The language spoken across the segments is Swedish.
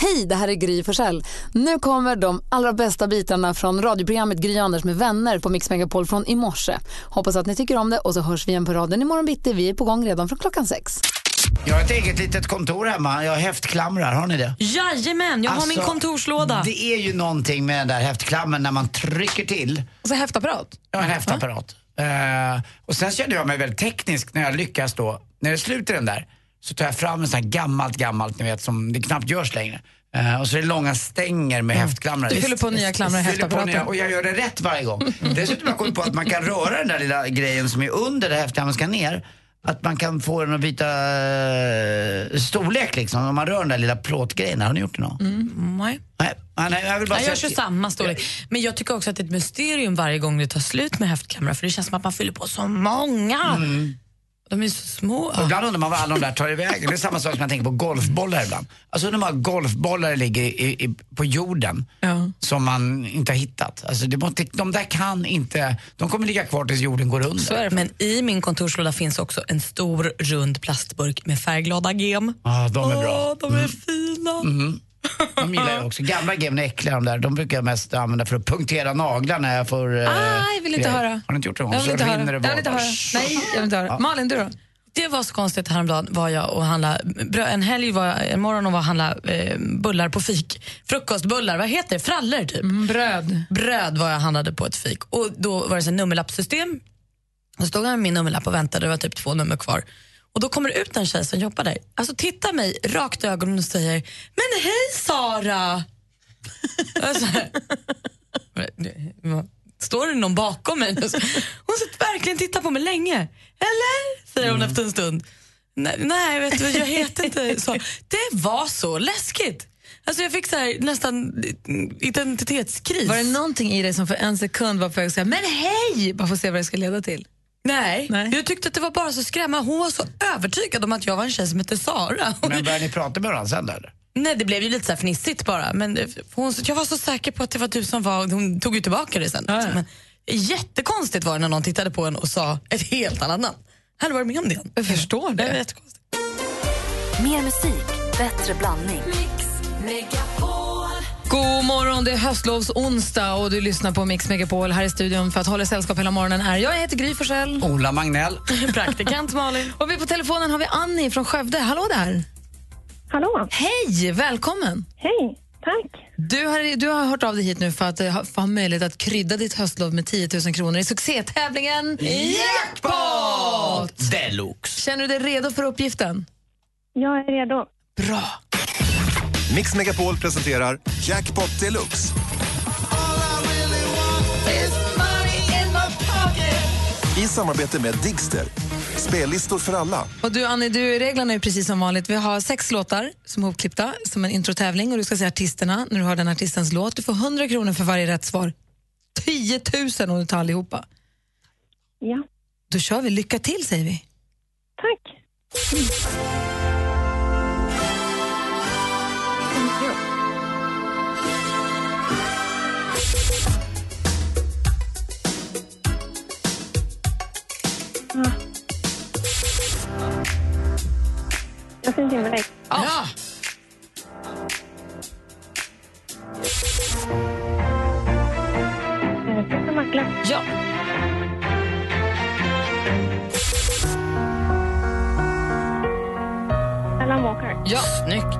Hej, det här är Gry Forssell. Nu kommer de allra bästa bitarna från radioprogrammet Gry Anders med vänner på Mix Megapol från i morse. Hoppas att ni tycker om det och så hörs vi igen på radion imorgon bitti. Vi är på gång redan från klockan sex. Jag har ett eget litet kontor hemma. Jag häftklamrar, har ni det? Jajamän, jag har min Alltså, kontorslåda. Det är ju någonting med den där häftklammen när man trycker till. Alltså häftapparat. Jag har en häftapparat. Eh, och sen kände jag mig väldigt teknisk när jag lyckas då. När det sluter den där så tar jag fram en sån här gammalt, gammalt, ni vet som det knappt görs längre. Eh, och så är det långa stänger med häftklamrar. Mm. Du fyller på nya klamrar i Fyller på häftapparaten. nya- Och jag gör det rätt varje gång. Dessutom har jag kommit på att man kan röra den där lilla grejen som är under där häftklamren ska ner. Att man kan få den att byta eh, storlek liksom. Om man rör den där lilla plåtgrejen. Har ni gjort det någon? Mm, nej. Nej, ah, nej, jag vill bara Nej, jag kör säga att- samma storlek. Men jag tycker också att det är ett mysterium varje gång det tar slut med häftkamera för det känns som att man fyller på så många. Mm. De är så små. Och Ibland undrar man vad alla de där tar i vägen. Det är samma sak som jag tänker på golfbollar ibland. Alltså undrar man var golfbollar ligger i, i, på jorden Ja. som man inte har hittat. Alltså det, måste- de där kan inte, de kommer ligga kvar tills jorden går under. Så är det. Men i min kontorslåda finns också en stor rund plastburk med färgglada gem. Ja, Ah, de är bra. Mm. Mm-hmm. Åh, de är fina. De gillar jag också. Gamla game är äckliga de där. De brukar jag mest använda för att punktera naglar när jag får... eh, Nej, Ah, jag vill inte grejer. höra. Har ni inte gjort det? Jag vill Så inte höra. rinner Jag det vill inte bara. höra. Nej, jag vill inte höra. Malin, du då? Det var så konstigt häromdagen var jag och handla brö- en helg var jag, en morgon och var och handla eh, bullar på fik. Frukostbullar, vad heter det? Frallor typ. Mm, Bröd. Bröd var jag handlade på ett fik och då var det så här nummerlappssystem. Då stod jag med min nummerlapp och väntade, det var typ två nummer kvar. Och då kommer det ut en tjej som jobbar där. Alltså tittar mig rakt i ögonen och säger Men hej Sara! alltså, Står det någon bakom mig? Hon sitter verkligen och tittar på mig länge. Eller? Säger Mm. hon efter en stund. Nej, nej vet du, jag heter inte så. Det var så läskigt. Alltså jag fick så här, nästan identitetskris. Var det någonting i dig som för en sekund var på väg att säga men hej, bara för att se vad det ska leda till? Nej. Nej. jag tyckte att det var bara så skrämmande. Hon var så övertygad om att jag var en tjej som hette Sara. Men börjar ni prata med varandra sen då, eller? Nej, det blev ju lite så här fnissigt bara. Men eh, hon, jag var så säker på att det var du som var... Hon tog ju tillbaka det sen. Ja. Men, jättekonstigt var det när någon tittade på en och sa ett helt annat namn. Här var du med om det igen. Jag förstår Det var det. jättekonstigt. Mer musik, bättre blandning. God morgon, det är höstlovsonsdag och du lyssnar på Mix Megapol här i studion för att hålla sällskap hela morgonen är jag, jag heter Gry Forssell. Ola Magnell. Praktikant Malin. Och vi på telefonen har vi Annie från Skövde. Hallå där! Hallå, Hej, välkommen! hej, tack. Du har, du har hört av dig hit nu för att eh, ha, för att ha möjlighet att krydda ditt höstlov med 10 000 kronor i succétävlingen Jackpot! Deluxe. Känner du dig redo för uppgiften? Jag är redo. Bra! Mix Megapol presenterar Jackpot Deluxe. I samarbete med Digster. Spellistor för alla. Mm, Och du Annie, du, reglerna är ju precis som vanligt. Vi har sex låtar som är hopklippta som en introtävling och du ska säga artisterna när du hör den artistens låt. Du får 100 kronor för varje rätt svar. 10 000 om du tar allihopa. Ja, Då kör vi. Lycka till säger vi. tack. Ah. Justin Timberlake. Ja. eh, Peter McLeod. ja. Alan Walker. Ja. Snyggt.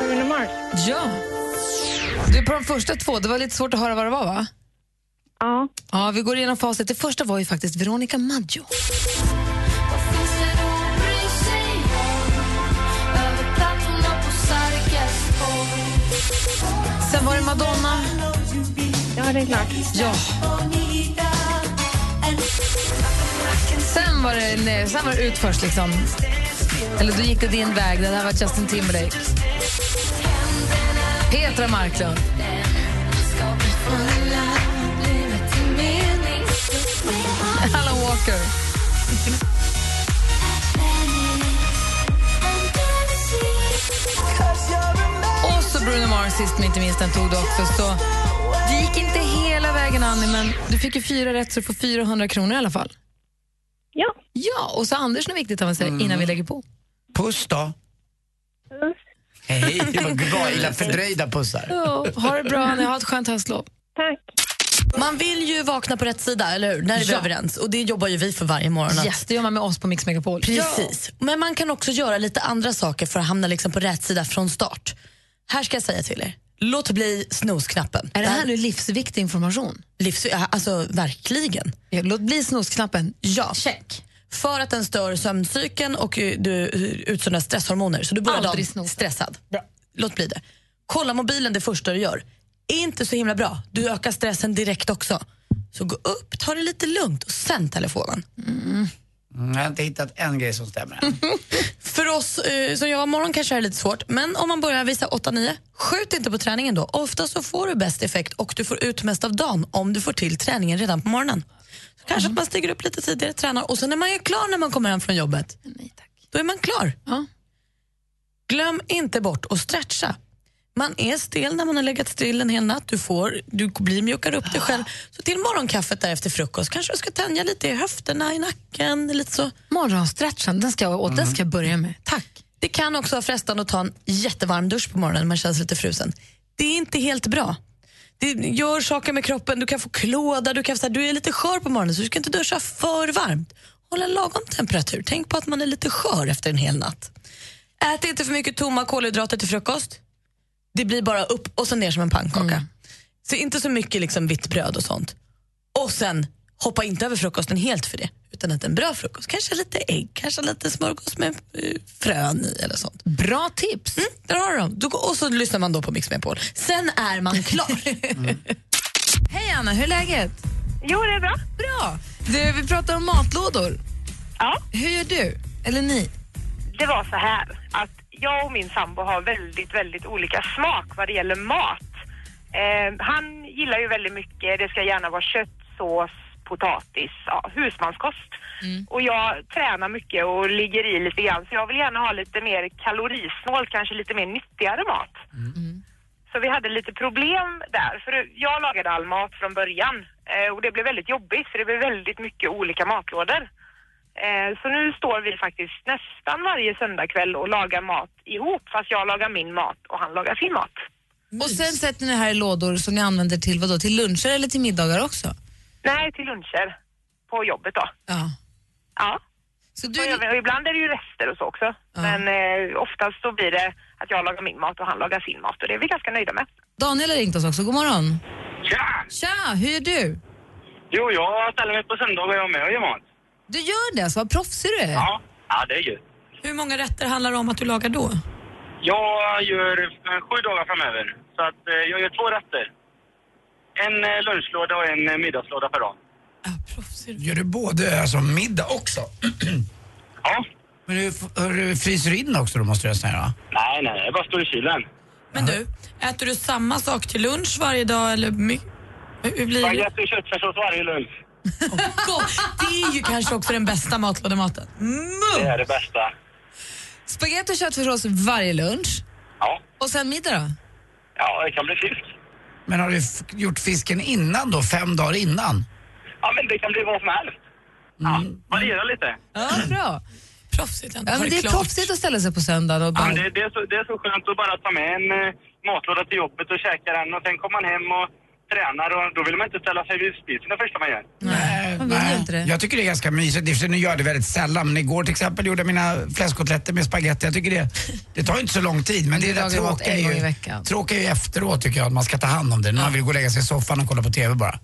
Bruno Mm. Mars. Ja. Du, på de första två, det var lite svårt att höra vad det var va? Ja, Ja, vi går igenom facit. Det första var ju faktiskt Veronica Maggio. Sen var det Madonna. ja det är klart. Ja. Sen var det, nej, sen var det utförs liksom. Eller då gick det din väg. Det här var Justin Timberlake. Petra Marklund. Alan Walker. Och så Bruno Mars sist men inte minst, den tog du också. Så det gick inte hela vägen Annie, men du fick ju fyra rätt så du får 400 kronor i alla fall. Ja. Ja, och så Anders något viktigt han vill säga innan vi lägger på. Puss då. Puss. Hej, det var bra, illa fördröjda pussar. Ja, ha det bra, ni har ett skönt höstlov. Tack. Man vill ju vakna på rätt sida, eller hur? När är vi Ja. överens. Och det jobbar ju vi för varje morgon. att- Yes, det gör man med oss på Mix Megapol. Precis. Men man kan också göra lite andra saker för att hamna liksom på rätt sida från start. Här ska jag säga till er. Låt bli snosknappen. Är det här nu livsviktig information? livs... ja, Alltså, verkligen. Ja, Låt bli snosknappen. Ja. Check. För att den stör sömncykeln och eh, du eh, utsöndrar stresshormoner. Så du börjar Aldrig dagen snosen. stressad. Låt bli det. Kolla mobilen det första du gör. Är inte så himla bra. Du ökar stressen direkt också. Så gå upp, ta det lite lugnt och sen telefonen. Mm, jag har inte hittat en grej som stämmer än. För oss eh, som jobbar morgon kanske det är lite svårt, men om man börjar visa 8-9, skjut inte på träningen då. Ofta så får du bäst effekt och du får ut mest av dagen om du får till träningen redan på morgonen. Så kanske att man stiger upp lite tidigare, tränar och sen är man ju klar när man kommer hem från jobbet. Nej, tack. Då är man klar. Ja. Glöm inte bort att stretcha. Man är stel när man har legat still en hel natt. Du, får, du blir mjukare upp dig själv. Så till morgonkaffet där efter frukost kanske du ska tänja lite i höfterna, i nacken, lite så. Morgonstretchen, den ska, jag, och den Mm. ska jag börja med. Tack. Det kan också vara frestande att ta en jättevarm dusch på morgonen när man känns lite frusen. Det är inte helt bra. Det gör saker med kroppen, du kan få klåda, du, kan, få så här, du är lite skör på morgonen så du ska inte duscha för varmt. Håll en lagom temperatur, tänk på att man är lite skör efter en hel natt. Ät inte för mycket tomma kolhydrater till frukost. Det blir bara upp och sen ner som en pannkaka. Så inte så mycket liksom vitt bröd och sånt. Och sen, hoppa inte över frukosten helt för det. Utan att en bra frukost, kanske lite ägg, kanske lite smörgås med eh, frön i eller sånt. Bra tips! Mm, där har du dem. Då, går- och så lyssnar man då på Mix Megapol. Sen är man klar. Mm. Hej Anna, hur är läget? Jo, det är bra. Bra! Du, vi pratar om matlådor. Ja. Hur gör du? Eller ni? Det var så här att jag och min sambo har väldigt, väldigt olika smak vad det gäller mat. Eh, han gillar ju väldigt mycket, det ska gärna vara kött, sås, potatis, ja, husmanskost. Och jag tränar mycket och ligger i lite grann så jag vill gärna ha lite mer kalorisnål, kanske lite mer nyttigare mat. Så vi hade lite problem där, för jag lagade all mat från början eh, och det blev väldigt jobbigt för det blev väldigt mycket olika matlådor. Eh, Så nu står vi faktiskt nästan varje söndagkväll och lagar mat ihop, fast jag lagar min mat och han lagar sin mat. Och sen sätter ni det här i lådor som ni använder till vad då? Till luncher eller till middagar också? Nej, till luncher på jobbet då. Ja. Ja. Så du, Och jag- Och ibland är det ju rester och så också. Men eh, oftast så blir det att jag lagar min mat och han lagar sin mat och det är vi ganska nöjda med. Daniel har ringt oss också, god morgon. Tja! Tja, hur gör du? Jo, jag ställer mig på söndagar jag med och gör mat. Du gör det, så vad proffsig du är. Ja. Ja, det är ju. Hur många rätter handlar det om att du lagar då? Jag gör eh, sju dagar framöver. Så att eh, jag gör två rätter. En eh, lunchlåda och en eh, middagslåda per dag. Gör du både alltså, middag också? Ja. Men du, f- hur fryser du in också då måste jag säga va? Nej, nej, jag bara står i kylen. Men du, äter du samma sak till lunch varje dag eller my- hur hur blir det? Baguette och köttfärssås varje lunch. Gott. Det är ju kanske också den bästa matlådematen. Mm. Det är det bästa. Spagetti och köttfärssås varje lunch. Ja. Och sen middag då? Ja, det kan bli fisk. Men har du f- gjort fisken innan då, fem dagar innan? Ja, men det kan bli vad som helst. Ja, variera lite. Ja, bra. Proffsigt ändå. Ja, Var men det är klart? proffsigt att ställa sig på söndagen och Ja, bara... men det, det, är så, det är så skönt att bara ta med en eh, matlåda till jobbet och käka den och sen kommer man hem och tränar och då vill man inte ställa sig vid spisen det första man gör. Mm. Nej, man vill ju inte det. Jag tycker det är ganska mysigt. I och för sig, Nu gör jag det väldigt sällan, men igår till exempel gjorde jag mina fläskkotletter med spagetti. Jag tycker det, det tar ju inte så lång tid, men det, det lagar mat tråkiga en är gång i ju, veckan. tråkiga är ju efteråt tycker jag, att man ska ta hand om det. När man vill gå och lägga sig i soffan och kolla på TV bara.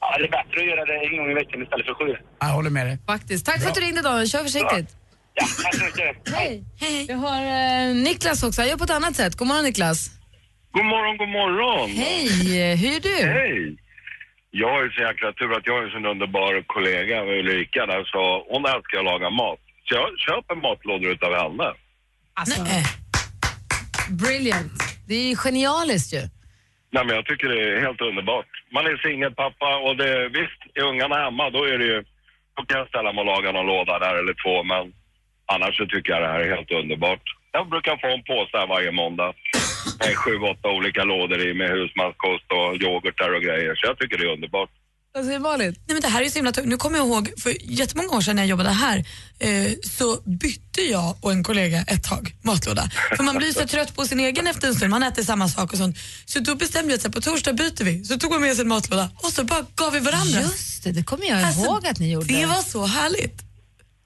Ja, det är bättre att göra det en gång i veckan istället för sju. Jag håller med dig. Faktiskt. Tack för att du ringde Daniel, kör försiktigt. Ja, tack så mycket. Hej. Hej. Vi har eh, Niklas också, han gör på ett annat sätt. God morgon Niklas. God morgon, god morgon! Hej, Eh, hur är du? Hej! Jag har ju så jäkla tur att jag har en sån underbar kollega, Ulrika, där, så hon älskar att laga mat. Så jag köper matlådor utav henne. Alltså. Nej. Brilliant. Det är ju genialiskt ju. Nej, men jag tycker det är helt underbart. Man är singelpappa och det, visst, är ungarna hemma då är det ju, då kan jag ställa mig och laga någon låda där eller två, men annars så tycker jag det här är helt underbart. Jag brukar få en påse här varje måndag med sju, åtta olika lådor i med husmanskost och yoghurtar och grejer, så jag tycker det är underbart. Vad säger Malin? Nej, men det här är ju så himla tungt. Nu kommer jag ihåg, för jättemånga år sedan när jag jobbade här eh, så bytte jag och en kollega ett tag matlåda. För man blir så trött på sin egen efter en stund, man äter samma sak och sånt. Så då bestämde jag att så här, på torsdag byter vi. Så tog man med sig en matlåda och så bara gav vi varandra. Just det, det kommer jag Alltså, ihåg att ni gjorde. Det var så härligt. Då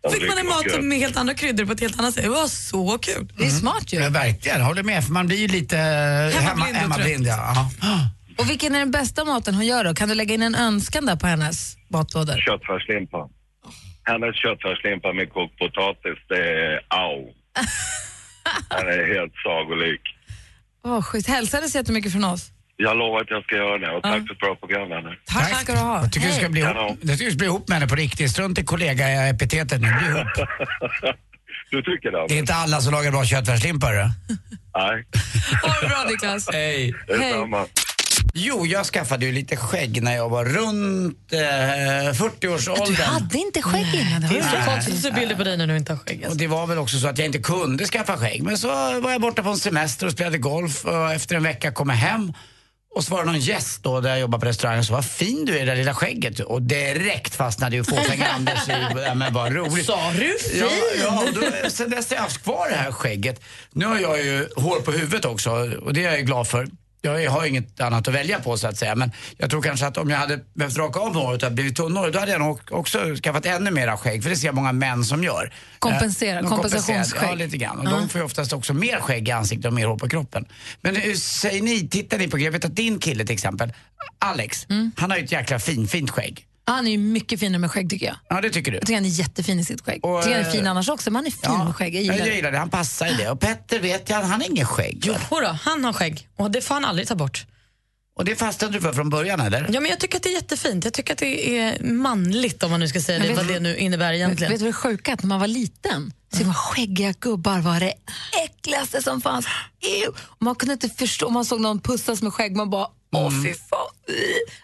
Ja, fick det man en var mat kul. som med helt andra kryddor på ett helt annat sätt. Det var så kul. det är smart ju. Ja, verkligen, håller med. För man blir ju lite hemma- och hemmablind. Ja. Ja. Och vilken är den bästa maten hon gör då? Kan du lägga in en önskan där på hennes matlådor? Köttfärslimpa. Hennes köttfärslimpa med kokt potatis, det är au. Den är helt sagolik. Åh, schysst. Hälsades jättemycket från oss. Jag lovar att jag ska göra det och tack för ett bra program vänner. Tack, ska du ha. Jag tycker du ska, bli ihop, Hej. jag tycker du ska bli ihop med henne på riktigt. Strunt i kollega-epitetet nu. Bli ihop. Du tycker Det är det? inte alla som lagar bra köttfärslimpa. hörru. Nej, Ha det bra Niklas. Hej. det är samma. Jo, jag skaffade ju lite skägg när jag var runt eh, 40-årsåldern. Du hade inte skägg innan. Det var ju Så så konstigt att se bilder på dig när du inte har skägg. Och Alltså. det var väl också så att jag inte kunde skaffa skägg. Men så var jag borta på en semester och spelade golf och efter en vecka kom jag hem och så var det någon gäst då där jag jobbade på restaurangen så vad fin du är i det där lilla skägget. Och direkt fastnade ju fåfäng-Anders i, ja, men vad roligt. Sa du fin? Ja, ja och då, sen dess har jag haft kvar det här skägget. Nu har jag ju hår på huvudet också och det är jag ju glad för. Jag har ju inget annat att välja på så att säga. Men jag tror kanske att om jag hade behövt raka av mig håret och blivit tunnare, då hade jag nog också skaffat ännu mera skägg. För det ser jag många män som gör. Kompensera, Eh, de kompenserar- kompensationsskägg. Ja, lite grann. Och de får ju oftast också mer skägg i ansiktet och mer hår på kroppen. Men hur säger ni, tittar ni på, jag vet att din kille till exempel, Alex, han har ju ett jäkla fin, fint skägg. Han är ju mycket finare med skägg tycker jag. Ja, det tycker du? Jag tycker han är jättefin i sitt skägg. Och, Jag tycker han är fin eh, annars också, men han är fin med skägg. Jag gillar jag det. gillar det. Han passar i det. Och Petter vet jag, han har ingen skägg. va? Jodå, han har skägg och det får han aldrig ta bort. Och det fastnade du för från början eller? Ja, men jag tycker att det är jättefint. Jag tycker att det är manligt om man nu ska säga det, vet- vad det nu innebär egentligen. Vet du vad det sjuka är? Att När man var liten så var skäggiga gubbar var det äckligaste som fanns. Ew. Och Man kunde inte förstå, man såg någon pussas med skägg, man bara åh Mm. fy fan.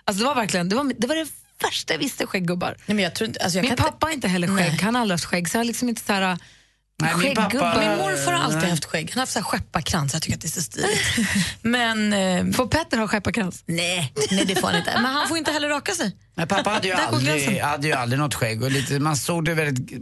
Alltså det var verkligen, det var det, var det värsta jag visste skägggubbar. Nej, men jag tror inte, alltså jag Min kan pappa har inte heller skägg, han har aldrig haft skägg så jag har liksom inte så här Nej, min pappa- skägggubbar. inte, min morfar har alltid haft skägg. Han har haft så här skepparkrans, jag tycker att det är så stiligt. men, eh, Får Petter ha skepparkrans? nej, nej det får han inte. Men han får inte heller raka sig. Nej, pappa hade ju, Där går aldrig, gränsen. hade ju aldrig något skägg. Och lite, man såg det väldigt...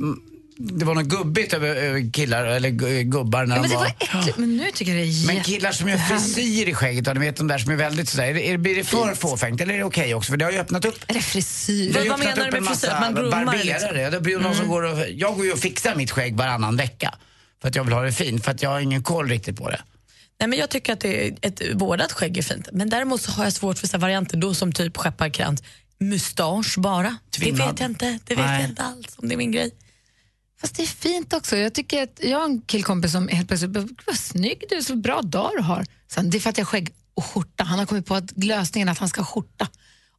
Det var något gubbigt över, över killar, eller gu- gubbar när Ja, de men det var... var äckligt, men nu tycker jag det är Men killar som gör frisyr i skägget, och ni vet de där som är väldigt sådär, är det, är det- blir det för fåfängt eller är det okej också? För det har ju öppnat upp Är det frisyr? det har ju vad öppnat menar upp du en med frisyr? massa Att man groomar barberare. liksom? Det blir ju någon som går och, jag går ju och fixar mitt skägg varannan vecka för att jag vill ha det fint, för att jag har ingen koll riktigt på det. Nej, men jag tycker att det är ett vårdat skägg är fint. Men däremot så har jag svårt för så här varianter då som typ skepparkrans. Mustasch bara. Det Tvinnad. vet jag inte. Det vet Nej. jag inte alls om det är min grej. Fast det är fint också. Jag tycker att jag har en killkompis som helt plötsligt bara, vad snygg du är, så bra dag du har. Sen, det är för att jag har skägg och skjorta. Han har kommit på att lösningen är att han ska ha skjorta.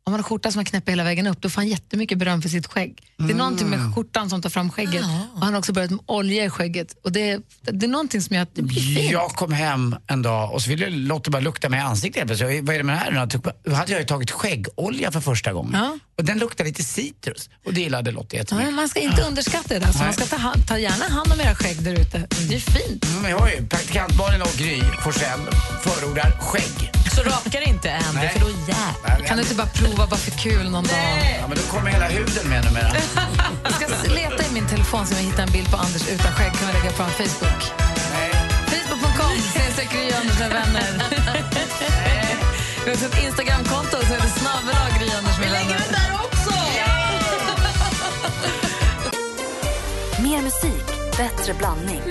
Om man har skjorta som man knäpper hela vägen upp, då får han jättemycket beröm för sitt skägg. Det är någonting med skjortan som tar fram skägget. Och han har också börjat med olja i skägget. Och det, är- det är någonting som gör att det blir fint. Jag kom hem en dag och så ville Lotta bara lukta mig i ansiktet helt plötsligt. Jag, Vad är det med det här nu då? Typ, Då hade jag ju tagit skäggolja för första gången. Ja. Och den luktade lite citrus och det gillade Lotta jättemycket. Ja, man ska inte underskatta det. Alltså, man ska ta, hand- ta gärna hand om era skägg där ute. Det är fint. Mm, jag har ju praktikant Malin och Gry Forssell förordar skägg. Så raka det inte än, Nej. för då jävlar. Kan du inte bara prova bara för kul någon dag? Ja, men då kommer hela huden med numera. Jag ska leta i min telefon så jag hittar en bild på Anders utan skägg. Kan vi lägga på en Facebook? Facebook.com, snedstreck Gry Anders med vänner. Vi har också ett Instagramkonto som heter snabel-a Gry Anders med vänner. Mer musik, bättre blandning.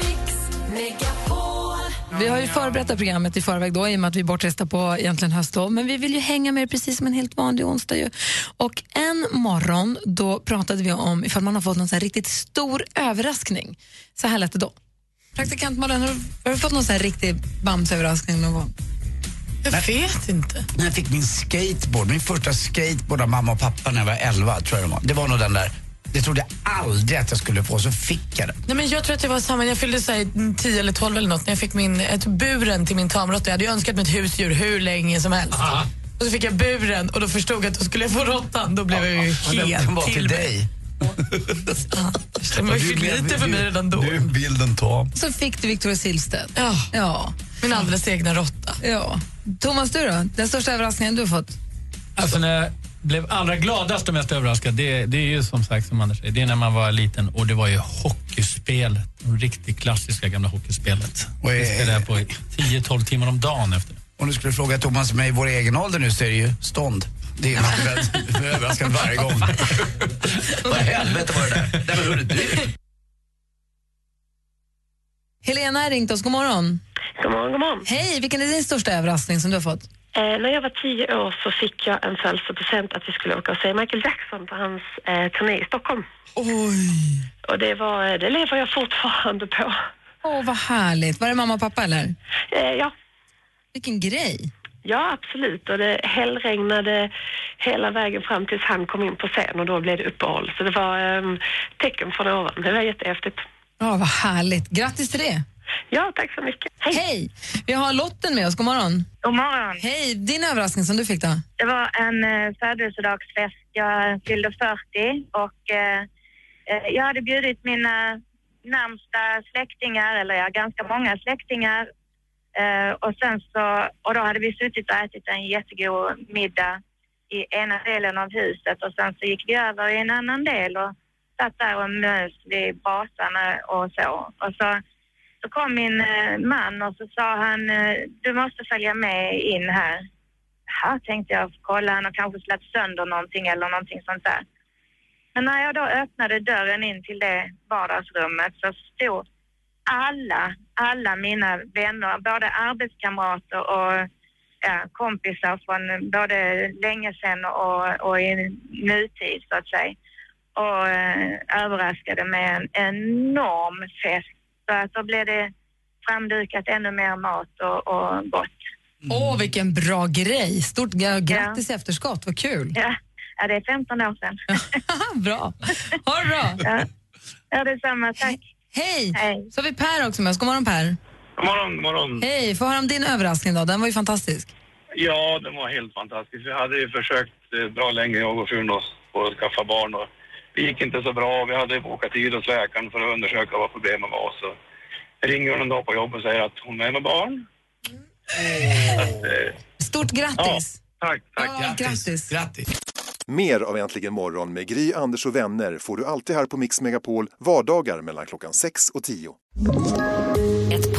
Vi har ju förberett det här programmet i förväg då, i och med att vi är bortresta på egentligen höstlov. Men vi vill ju hänga med er precis som en helt vanlig onsdag. Ju. Och en morgon då pratade vi om ifall man har fått någon så här riktigt stor överraskning. Så här lät det då. Praktikant Malin, har du- har du fått någon så här riktig bamsöverraskning någon gång? Jag vet inte. När jag fick min skateboard, min första skateboard av mamma och pappa när jag var 11 tror jag det var. Det var nog den där, det trodde jag aldrig att jag skulle få, så fick jag den. Nej, men jag tror att jag var samma. Jag fyllde så här, 10 eller 12 eller något när jag fick min, ett buren till min tamråtta. Jag hade ju önskat mig ett husdjur hur länge som helst. Och så fick jag buren och då förstod jag att då skulle jag få råttan. Då blev jag ju helt den var till till mig. dig. Den var ju för lite för mig redan då. är bilden tom. Så fick du Victoria Silvstedt. Ja, Ja. min alldeles egna råtta. ja. Thomas, du då? Den största överraskningen du har fått? Alltså när blev allra gladast och mest överraskad, det, det är ju som sagt som Anders säger, det är när man var liten och det var ju hockeyspelet. De riktigt klassiska gamla hockeyspelet. Oj. Vi spelade jag på 10-12 timmar om dagen efter. Om du skulle fråga Thomas och mig i vår egen ålder nu så är det ju stånd. Det är något väldigt överraskande varje gång. Vad i helvete var det där? Nej men hörru du. Helena har ringt oss. God morgon. God morgon, god morgon. Hej, vilken är din största överraskning som du har fått? Eh, när jag var tio år så fick jag en födelsedagspresent att vi skulle åka och se Michael Jackson på hans eh, turné i Stockholm. Oj! Och det, var, eh, det lever jag fortfarande på. Åh, vad härligt. Var det mamma och pappa eller? Eh, ja. Vilken grej. Ja, absolut. Och det hällregnade hela vägen fram tills han kom in på scen och då blev det uppehåll. Så det var eh, tecken från ovan. Det var jättehäftigt. Ja, vad härligt. Grattis till det. Ja, tack så mycket. Hej. Vi har Lotten med oss. God morgon. God morgon. Hej. Din överraskning som du fick då? Det var en eh, födelsedagsfest. Jag fyllde 40 och eh, eh, jag hade bjudit mina närmsta släktingar, eller ja, ganska många släktingar. Eh, och, sen så, och då hade vi suttit och ätit en jättegod middag i ena delen av huset och sen så gick vi över i en annan del och satt där och mös vid brasan och så. Och så så kom min eh, man och så sa han, eh, du måste följa med in här. Jaha, tänkte jag, kolla han har kanske slagit sönder någonting eller någonting sånt där. Men när jag då öppnade dörren in till det vardagsrummet så stod alla, alla mina vänner, både arbetskamrater och ja, kompisar från både länge sedan och, och i nutid så att säga. Och eh, överraskade med en enorm fest. Så att då blev det framdukat ännu mer mat och, och gott. Åh, vilken bra grej. Stort gra- grattis i efterskott. Vad kul. Ja, ja, det är 15 år sedan. bra. Ha det bra. Ja, ja detsamma. Tack. Hej. Så har vi Per också med oss. God morgon Per. God morgon, god morgon. Hej. Få höra om din överraskning då. Den var ju fantastisk. Ja, den var helt fantastisk. Vi hade ju försökt eh, bra länge, jag och frun, och- och skaffa barn. Och det gick inte så bra. Vi hade åkt till hos läkaren för att undersöka vad problemen var. Så ringer hon en dag på jobbet och säger att hon är med barn. Att, eh, Stort grattis. tack, tack. grattis. Mer av Äntligen morgon med Gry, Anders och vänner får du alltid här på Mix Megapol vardagar mellan klockan 6 och 10. Ett